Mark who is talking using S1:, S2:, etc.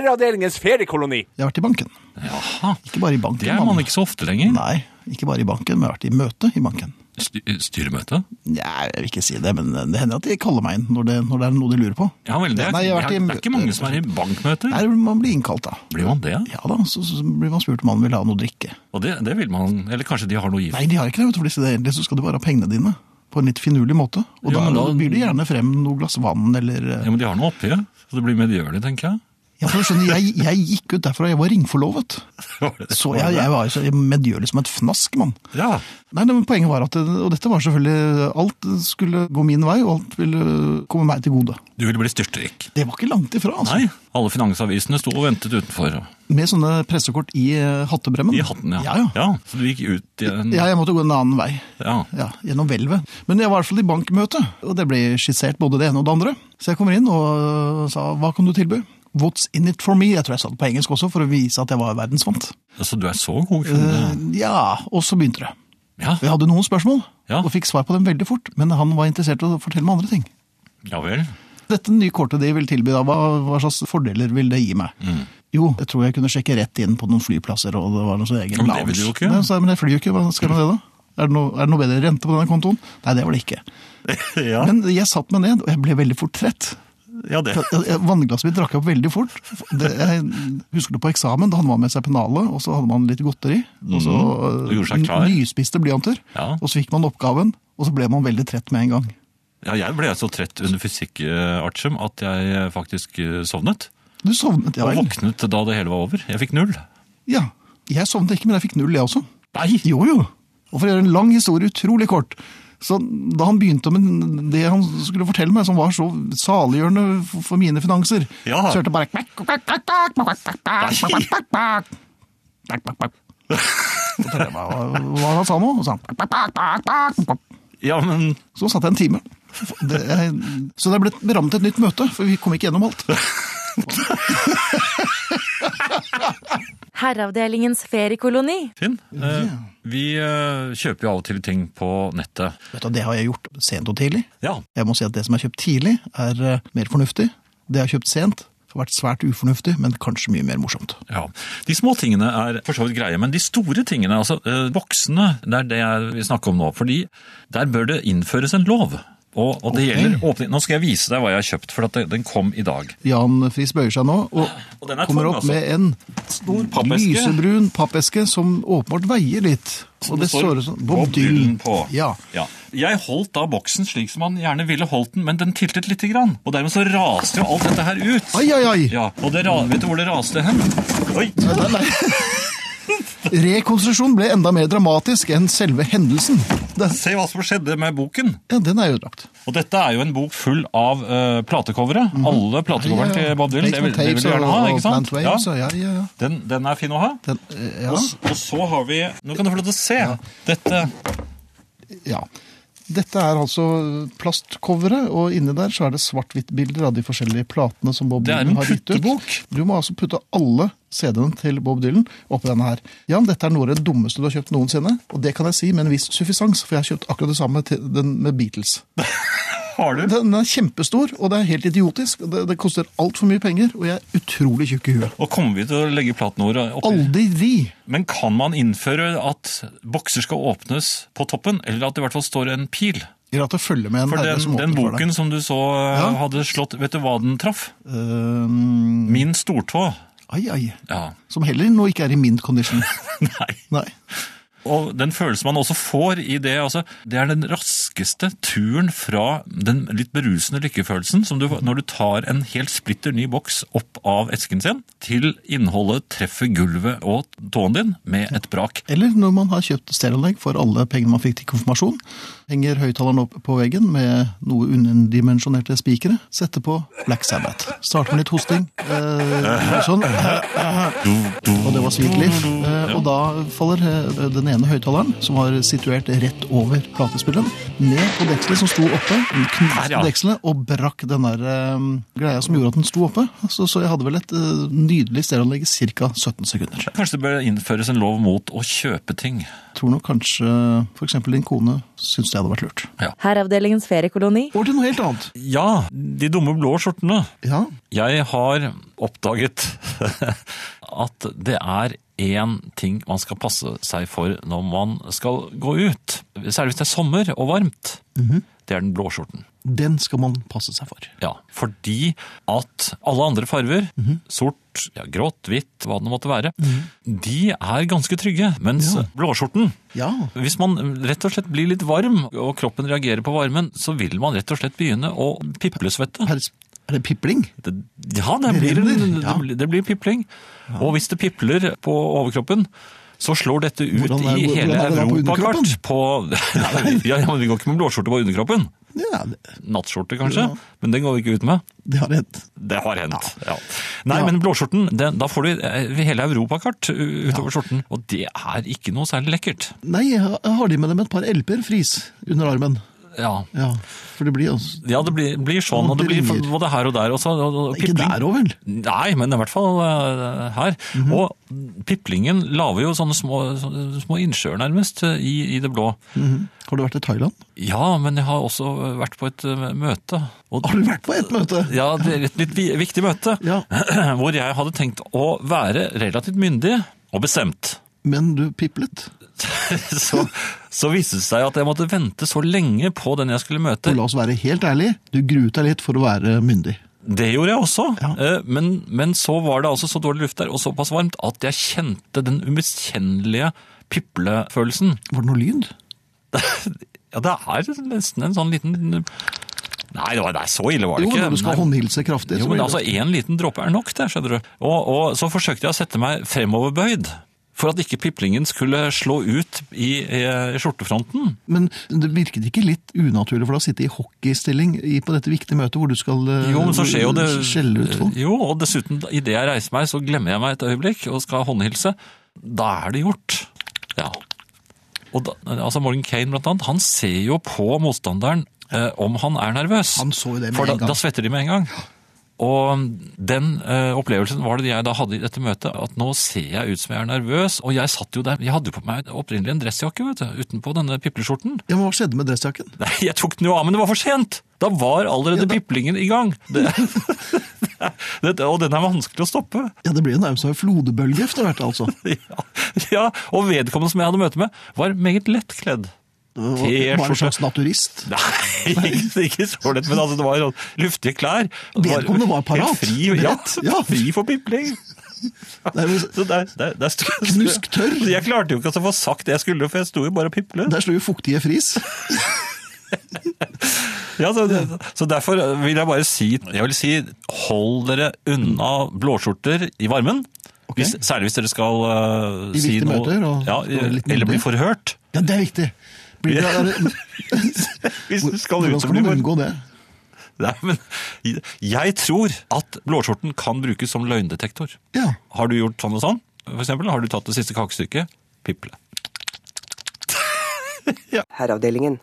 S1: Herreavdelingens feriekoloni.
S2: Jeg har vært i banken.
S3: Jaha.
S2: Ikke bare i banken.
S3: Det er man ikke så ofte lenger.
S2: Nei, ikke bare i banken, men jeg har vært i møte i banken.
S3: Sty eh, styremøte?
S2: Nei, jeg vil ikke si det, men det hender at de kaller meg inn når det, når det er noe de lurer på.
S3: Ja vel, det er,
S2: Nei, jeg har vært i-
S3: det er ikke mange som er i bankmøter.
S2: Nei, man blir innkalt da.
S3: Blir man det?
S2: Ja da, så, så blir man spurt om man vil ha noe drikke.
S3: Og det, det vil man Eller kanskje de har noe å gi?
S2: Nei, de har ikke det, vet du, for hvis det er ellers så skal du bare ha pengene dine. På en litt finurlig måte. Og
S3: Jo,
S2: da,
S3: men da-
S2: byr de gjerne frem noe glass vann eller eh,
S3: Ja, men de har noe oppi, så det blir medgjørlig, tenker jeg.
S2: Ja, for du skjønner, jeg, jeg gikk ut derfra, jeg var ringforlovet.
S3: Var det-
S2: Så jeg, jeg var jo så medgjørlig som et fnask, mann.
S3: Ja.
S2: Nei, nei, men Poenget var at eh, Og dette var selvfølgelig eh, Alt skulle gå min vei, og alt ville komme meg til gode.
S3: Du ville bli styrtrik.
S2: Det var ikke langt ifra, altså.
S3: Nei. Alle finansavisene sto og ventet utenfor.
S2: Med sånne pressekort i eh, hattebremmen.
S3: I hatten, ja. Mm.
S2: Ja, ja.
S3: Så du gikk ut i en
S2: Ja, jeg måtte gå en annen vei.
S3: Ja.
S2: Ja, Gjennom hvelvet. Men jeg var i hvert fall i bankmøte, og det ble skissert både det ene og det andre. Så jeg kommer inn og eh, sa 'hva kan du tilby'? What's in it for me? Jeg tror jeg sa det på engelsk også, for å vise at jeg var verdensvant.
S3: Så du er så god kunde?
S2: Eh, ja, og så begynte det.
S3: Ja.
S2: Jeg hadde noen spørsmål,
S3: Ja.
S2: og fikk svar på dem veldig fort. Men han var interessert i å fortelle meg andre ting.
S3: ja vel.
S2: Dette nye kortet de vil tilby, da, hva, hva slags fordeler vil det gi meg?
S3: Mm.
S2: Jo, jeg tror jeg kunne sjekke rett inn på noen flyplasser, og det var noe sånn
S3: Ja,
S2: egen
S3: men det vil du jo ikke.
S2: Nei, så, jeg, men jeg flyr jo ikke, hva skal jeg med det da? Er det, noe, er det noe bedre rente på denne kontoen? Nei, det var det ikke.
S3: Ja,
S2: Men jeg satt meg ned, og jeg ble veldig fort trett.
S3: ja det.
S2: Jeg- jeg- Vannglasset mitt drakk opp veldig fort. Det, jeg husker det på eksamen, da han var med seg pennalet, og så hadde man litt godteri. Og så
S3: Mhm. Og gjorde seg
S2: n-
S3: klar.
S2: nyspiste blyanter.
S3: Ja.
S2: Og så fikk man oppgaven, og så ble man veldig trett med en gang.
S3: Ja, jeg ble så trett under fysikk-artium at jeg faktisk eh, sovnet.
S2: Du sovnet, ja
S3: Og
S2: vel?
S3: våknet da det hele var over. Jeg fikk null.
S2: Ja. Jeg sovnet ikke, men jeg fikk null, jeg også.
S3: Nei!
S2: Jo, jo. Og for å gjøre en lang historie utrolig kort. Så da han begynte med det han skulle fortelle meg, som var så saliggjørende for- for mine finanser,
S3: Ja.
S2: så hørte jeg bare kvekk, kvekk, kvekk, kvekk, kvekk, kvekk, kvekk, kvekk, kvekk, kvekk. Kvekk, kvekk, kvekk. Så tenkte jeg bare, Hva hva han sa nå? Og så, han, kvekk, kvekk, kvekk, kvekk, kvekk.
S3: Ja, men
S2: så satt jeg en time. Det, jeg- så det ble berammet et nytt møte, for vi kom ikke gjennom alt.
S4: Herreavdelingens feriekoloni.
S3: Finn, eh, vi eh, kjøper jo av og til ting på nettet.
S2: Vet du, Det har jeg gjort sent og tidlig.
S3: Ja,
S2: Jeg må si at det som er kjøpt tidlig, er eh, mer fornuftig. Det jeg har kjøpt sent, har vært svært ufornuftig, men kanskje mye mer morsomt.
S3: ja. De små tingene er for så vidt greie, men de store tingene, altså eh, voksne, det er det jeg vil snakke om nå. Fordi der bør det innføres en lov. Og, og det gjelder åpning. Nå skal jeg vise deg hva jeg har kjøpt, for at det, den kom i dag.
S2: Jan Friis bøyer seg nå og,
S3: Og den er
S2: kommer
S3: tung,
S2: opp
S3: altså.
S2: med en
S3: Stor
S2: lysebrun pappeske som åpenbart veier litt.
S3: Som
S2: Og det, står ut som Bob Dylan
S3: på.
S2: Ja.
S3: Jeg holdt da boksen slik som han gjerne ville holdt den, men den tiltet lite grann. Og dermed så raste jo alt dette her ut.
S2: Ai, ai, ai!
S3: Ja, og det ra vet du hvor det raste hen? Oi!
S2: Rekonstruksjonen ble enda mer dramatisk enn selve hendelsen. Den,
S3: Se hva som skjedde med boken.
S2: ja, den er ødelagt.
S3: Og dette er jo en bok full av uh, platecovere.
S2: Mhm.
S3: Alle platecoverne til Bob Dylan. Det, vil- det vil du gjerne ha, ikke sant?
S2: Ja.
S3: Ja.
S2: Ja, ja, ja.
S3: Den, den er fin å ha.
S2: Den, eh, ja.
S3: Og s- Og så har vi Nå kan du få lov til å se. Dette
S2: Ja. Dette er altså plastcoveret, og inni der så er det svart-hvitt-bilder av de forskjellige platene som Bob
S3: Det er
S2: Dylan
S3: en
S2: har gitt ut.
S3: puttebok.
S2: Du må altså putte alle CD-ene til Bob Dylan oppi denne her. Jan, dette er noe av det dummeste du har kjøpt noensinne, og det kan jeg si med en viss suffisans, for jeg har kjøpt akkurat det samme til den med Beatles.
S3: har du.
S2: Den er kjempestor, og det er helt idiotisk. Det, det koster altfor mye penger, og jeg er utrolig tjukk i huet.
S3: Og kommer vi til å legge platenåret oppi?
S2: Aldri!
S3: Men kan man innføre at bokser skal åpnes på toppen, eller at det i hvert fall står en pil?
S2: Eller at det følger med en
S3: For
S2: herre
S3: den,
S2: som
S3: den
S2: åpner for
S3: boken
S2: deg.
S3: som du så eh,
S2: Ja.
S3: hadde slått Vet du hva den traff?
S2: Øhm,
S3: Min stortå.
S2: Ehm, ai, ai.
S3: Ja.
S2: Som heller nå ikke er i mint condition.
S3: Nei.
S2: Nei.
S3: Og den følelsen man også får i det altså, Det er den raskeste turen fra den litt berusende lykkefølelsen som du, når du tar en helt splitter ny boks opp av esken sin, til innholdet treffer gulvet og tåen din med et brak.
S2: Eller når man har kjøpt stereoanlegg for alle pengene man fikk til konfirmasjon, henger høyttaleren opp på veggen med noe underdimensjonerte spikere, setter på Black Sabbath. Starter med litt hosting. Eh, sånn. Og det var Sweet Leaf. Eh, og da faller eh, den ene høyttaleren, som var situert rett over platespilleren, ned på dekselet som sto oppe. Den knuste
S3: Her, ja.
S2: dekselet og brakk den der eh, greia som gjorde at den sto oppe. Så, så jeg hadde vel et eh, nydelig stereoanlegg i ca. 17 sekunder.
S3: Kanskje det bør innføres en lov mot å kjøpe ting.
S2: Jeg tror nok kanskje f.eks. din kone syns det hadde vært lurt.
S4: Herreavdelingens feriekoloni.
S2: Over til noe helt annet.
S3: Ja, de dumme blå skjortene.
S2: Ja,
S3: Jeg har oppdaget at det er én ting man skal passe seg for når man skal gå ut. Særlig hvis det er sommer og varmt. Det er den blå skjorten.
S2: den skal man passe seg for.
S3: Ja, fordi at alle andre farver, sort, ja, grått, hvitt, hva det nå måtte være, de er ganske trygge. Mens blåskjorten,
S2: Ja,
S3: hvis man rett og slett blir litt varm, og kroppen reagerer på varmen, så vil man rett og slett begynne å piplesvette.
S2: er det, er det pipling?
S3: Det, ja, det blir,
S2: Det
S3: det,
S2: rinner, ja.
S3: blir- det blir pipling. Og hvis det pipler på overkroppen, så slår dette ut
S2: Hvordan er-
S3: i
S2: hvordan
S3: hele
S2: er det da på
S3: Europakart. På, ja, ja, men vi går ikke med blåskjorte på underkroppen.
S2: Ja, det,
S3: Nattskjorte kanskje, men den går vi ikke ut med.
S2: det har hendt.
S3: Det har hendt, ja. Nei,
S2: Ja.
S3: men blåskjorten, den, da får du eh, hele europakart u- utover skjorten, og det er ikke noe særlig lekkert.
S2: Nei, jeg har- jeg har de med dem et par LP-er fris under armen.
S3: Ja,
S2: Ja, for det blir altså
S3: ja det blir, blir sånn, og det blir
S2: Dringer.
S3: både her og der også. Og, og
S2: Ikke
S3: pipling.
S2: der òg, vel?
S3: Nei, men i hvert fall eh, her.
S2: Mhm.
S3: Og piplingen laver jo sånne små, sånne små innsjøer nærmest eh, i, i det blå.
S2: Mhm. Har du vært i Thailand?
S3: Ja, men jeg har også vært på et eh, møte. Og,
S2: Har du vært på et møte?
S3: Ja, det er et litt vi- viktig møte.
S2: Ja.
S3: Hvor jeg hadde tenkt å være relativt myndig og bestemt.
S2: Men du piplet?
S3: så, så viste det seg at jeg måtte vente så lenge på den jeg skulle møte.
S2: Og la oss være helt ærlige, du gruet deg litt for å være myndig.
S3: Det gjorde jeg også,
S2: Ja.
S3: eh, men, men så var det altså så dårlig luft der og såpass varmt at jeg kjente den umiskjennelige piplefølelsen.
S2: Var det noe lyd?
S3: Ja, det er nesten en sånn liten Nei, det var, nei, så ille var det
S2: Jo,
S3: ikke.
S2: når du skal
S3: Nei.
S2: håndhilse kraftig.
S3: Jo,
S2: så
S3: men
S2: blir
S3: altså,
S2: det-
S3: én liten dråpe er nok, det skjønner du. Og, og så forsøkte jeg å sette meg fremoverbøyd, for at ikke piplingen skulle slå ut i, i, i skjortefronten.
S2: Men det virket ikke litt unaturlig for deg å sitte i hockeystilling i- på dette viktige møtet hvor du skal eh,
S3: Jo, men så skjer jo det
S2: skjelle ut folk?
S3: Jo, og dessuten, idet jeg reiser meg, så glemmer jeg meg et øyeblikk og skal håndhilse. Da er det gjort. Ja. Og da, altså Morgan Kane, blant annet, han ser jo på motstanderen eh, om han er nervøs.
S2: Han så jo det med
S3: For da,
S2: en gang.
S3: da svetter de med en gang. Og den eh, opplevelsen var det jeg da hadde i dette møtet, at nå ser jeg ut som jeg er nervøs. Og jeg satt jo der, jeg hadde jo på meg opprinnelig en dressjakke, vet du, utenpå denne pipleskjorten.
S2: Ja, men Hva skjedde med dressjakken?
S3: Nei, jeg tok den jo av, men det var for sent! Da var allerede piplingen i gang. Det, Dette- og den er vanskelig å stoppe.
S2: Ja, Det ble jo nærmest en flodbølge etter hvert, altså.
S3: Ja, ja, og vedkommende som jeg hadde møte med, var meget lettkledd.
S2: Det var en
S3: T-skjorte.
S2: slags naturist.
S3: Nei, ikke, ikke så lett, men altså, det var sånn luftige klær. Det
S2: Vedkommende var parat.
S3: Helt Fri, ja,
S2: Ja.
S3: fri for pipling.
S2: Nei, men
S3: Så der, der, der sto,
S2: Knusktørr.
S3: Jeg klarte jo ikke å få sagt det jeg skulle, for jeg sto jo bare og piplet.
S2: Der slo jo fuktige fris.
S3: Ja, så, så derfor vil jeg bare si, jeg vil si hold dere unna blåskjorter i varmen.
S2: Ok.
S3: Hvis, særlig hvis dere skal eh,
S2: I
S3: si
S2: viktige
S3: noe.
S2: møter, og
S3: ja,
S2: skal være litt
S3: eller bli
S2: myndig.
S3: forhørt.
S2: Ja, det er viktig. Blir det, er det,
S3: Hvis du skal
S2: hvordan
S3: ut,
S2: skal
S3: så blir
S2: man
S3: man
S2: unngå det?
S3: Nei, men jeg tror at blåskjorten kan brukes som løgndetektor.
S2: Ja.
S3: Har du gjort sånn og sånn? For eksempel, har du tatt det siste kakestykket? Piple.
S1: Herreavdelingen.